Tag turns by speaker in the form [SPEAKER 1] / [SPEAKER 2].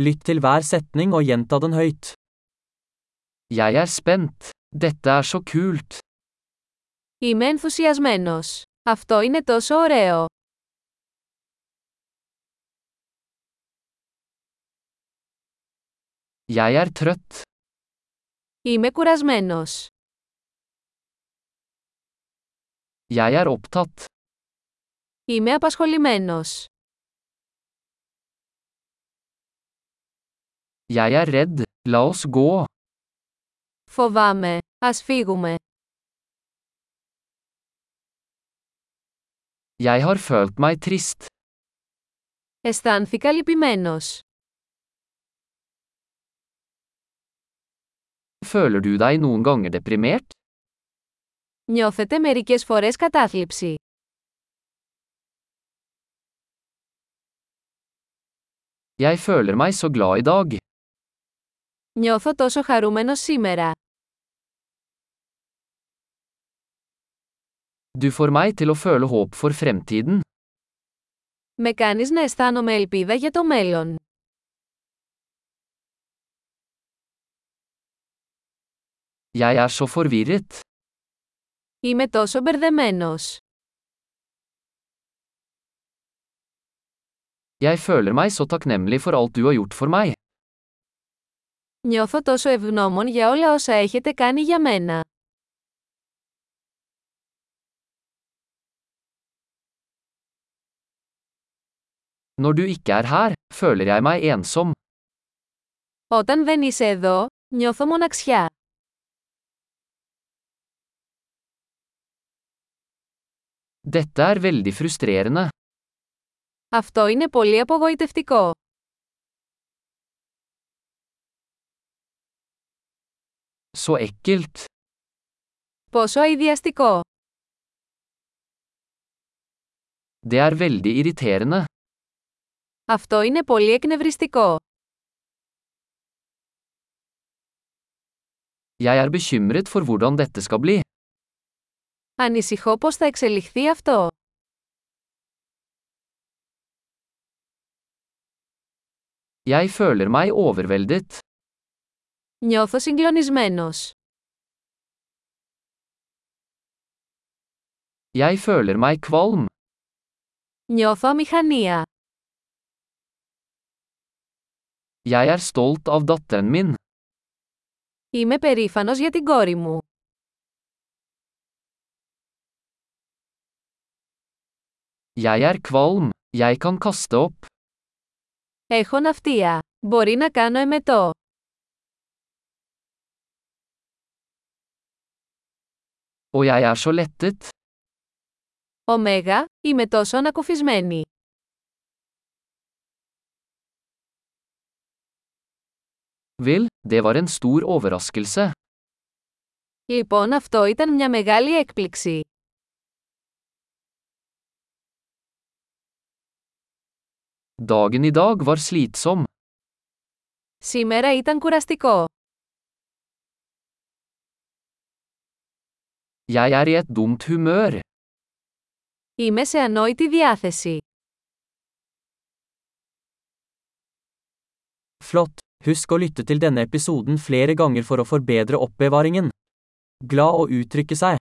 [SPEAKER 1] Lytt til hver setning og gjenta den høyt. Jeg er spent. Dette er så kult.
[SPEAKER 2] Είμαι ενθουσιασμένος. Αυτό είναι τόσο ωραίο.
[SPEAKER 1] Jeg er trøtt.
[SPEAKER 2] Είμαι κουρασμένος.
[SPEAKER 1] Jeg er opptatt.
[SPEAKER 2] Είμαι απασχολημένος.
[SPEAKER 1] Jeg er redd. La oss gå.
[SPEAKER 2] Φοβάμαι. Ας φύγουμε.
[SPEAKER 1] Jeg har følt meg trist.
[SPEAKER 2] Αισθάνθηκα λυπημένος.
[SPEAKER 1] Føler du deg noen ganger deprimert?
[SPEAKER 2] Νιώθετε μερικές φορές κατάθλιψη.
[SPEAKER 1] Jeg føler meg så glad i dag.
[SPEAKER 2] Νιώθω τόσο χαρούμενος σήμερα.
[SPEAKER 1] Du får meg til å føle håp for fremtiden.
[SPEAKER 2] Με κάνεις να αισθάνομαι ελπίδα για το μέλλον.
[SPEAKER 1] Jeg er så forvirret.
[SPEAKER 2] Είμαι τόσο μπερδεμένος.
[SPEAKER 1] Jeg føler meg så takknemlig for alt du har gjort for meg.
[SPEAKER 2] Νιώθω τόσο ευγνώμων για όλα όσα έχετε κάνει για μένα.
[SPEAKER 1] Når du ikke er her, føler jeg meg ensom.
[SPEAKER 2] Όταν δεν είσαι εδώ, νιώθω μοναξιά.
[SPEAKER 1] Dette er veldig frustrerende.
[SPEAKER 2] Αυτό είναι πολύ απογοητευτικό.
[SPEAKER 1] Så ekkelt.
[SPEAKER 2] Πόσο αειδιαστικό.
[SPEAKER 1] Det er veldig irriterende.
[SPEAKER 2] Αυτό είναι πολύ εκνευριστικό.
[SPEAKER 1] Jeg er bekymret for hvordan dette skal bli.
[SPEAKER 2] Ανησυχώ πώς θα εξελιχθεί αυτό.
[SPEAKER 1] Jeg føler meg overveldet.
[SPEAKER 2] Νιώθω συγκλονισμένος.
[SPEAKER 1] Jeg føler meg kvalm.
[SPEAKER 2] Νιώθω αμηχανία.
[SPEAKER 1] Jeg er stolt av datteren min.
[SPEAKER 2] Είμαι περήφανος για την κόρη μου.
[SPEAKER 1] Jeg er kvalm. Jeg kan kaste opp.
[SPEAKER 2] Έχω ναυτία. Μπορεί να κάνω εμετό.
[SPEAKER 1] Og jeg er så lettet.
[SPEAKER 2] Ωμέγα, είμαι τόσο ανακουφισμένη.
[SPEAKER 1] Vel, det var en stor overraskelse.
[SPEAKER 2] Λοιπόν αυτό ήταν μια μεγάλη έκπληξη.
[SPEAKER 1] Dagen i dag var slitsom.
[SPEAKER 2] Σήμερα ήταν κουραστικό.
[SPEAKER 1] Jeg er i et dumt humør.
[SPEAKER 2] Είμαι σε ανόητη διάθεση.
[SPEAKER 1] Flott. Husk å lytte til denne episoden flere ganger for å forbedre oppbevaringen. Glad å uttrykke seg.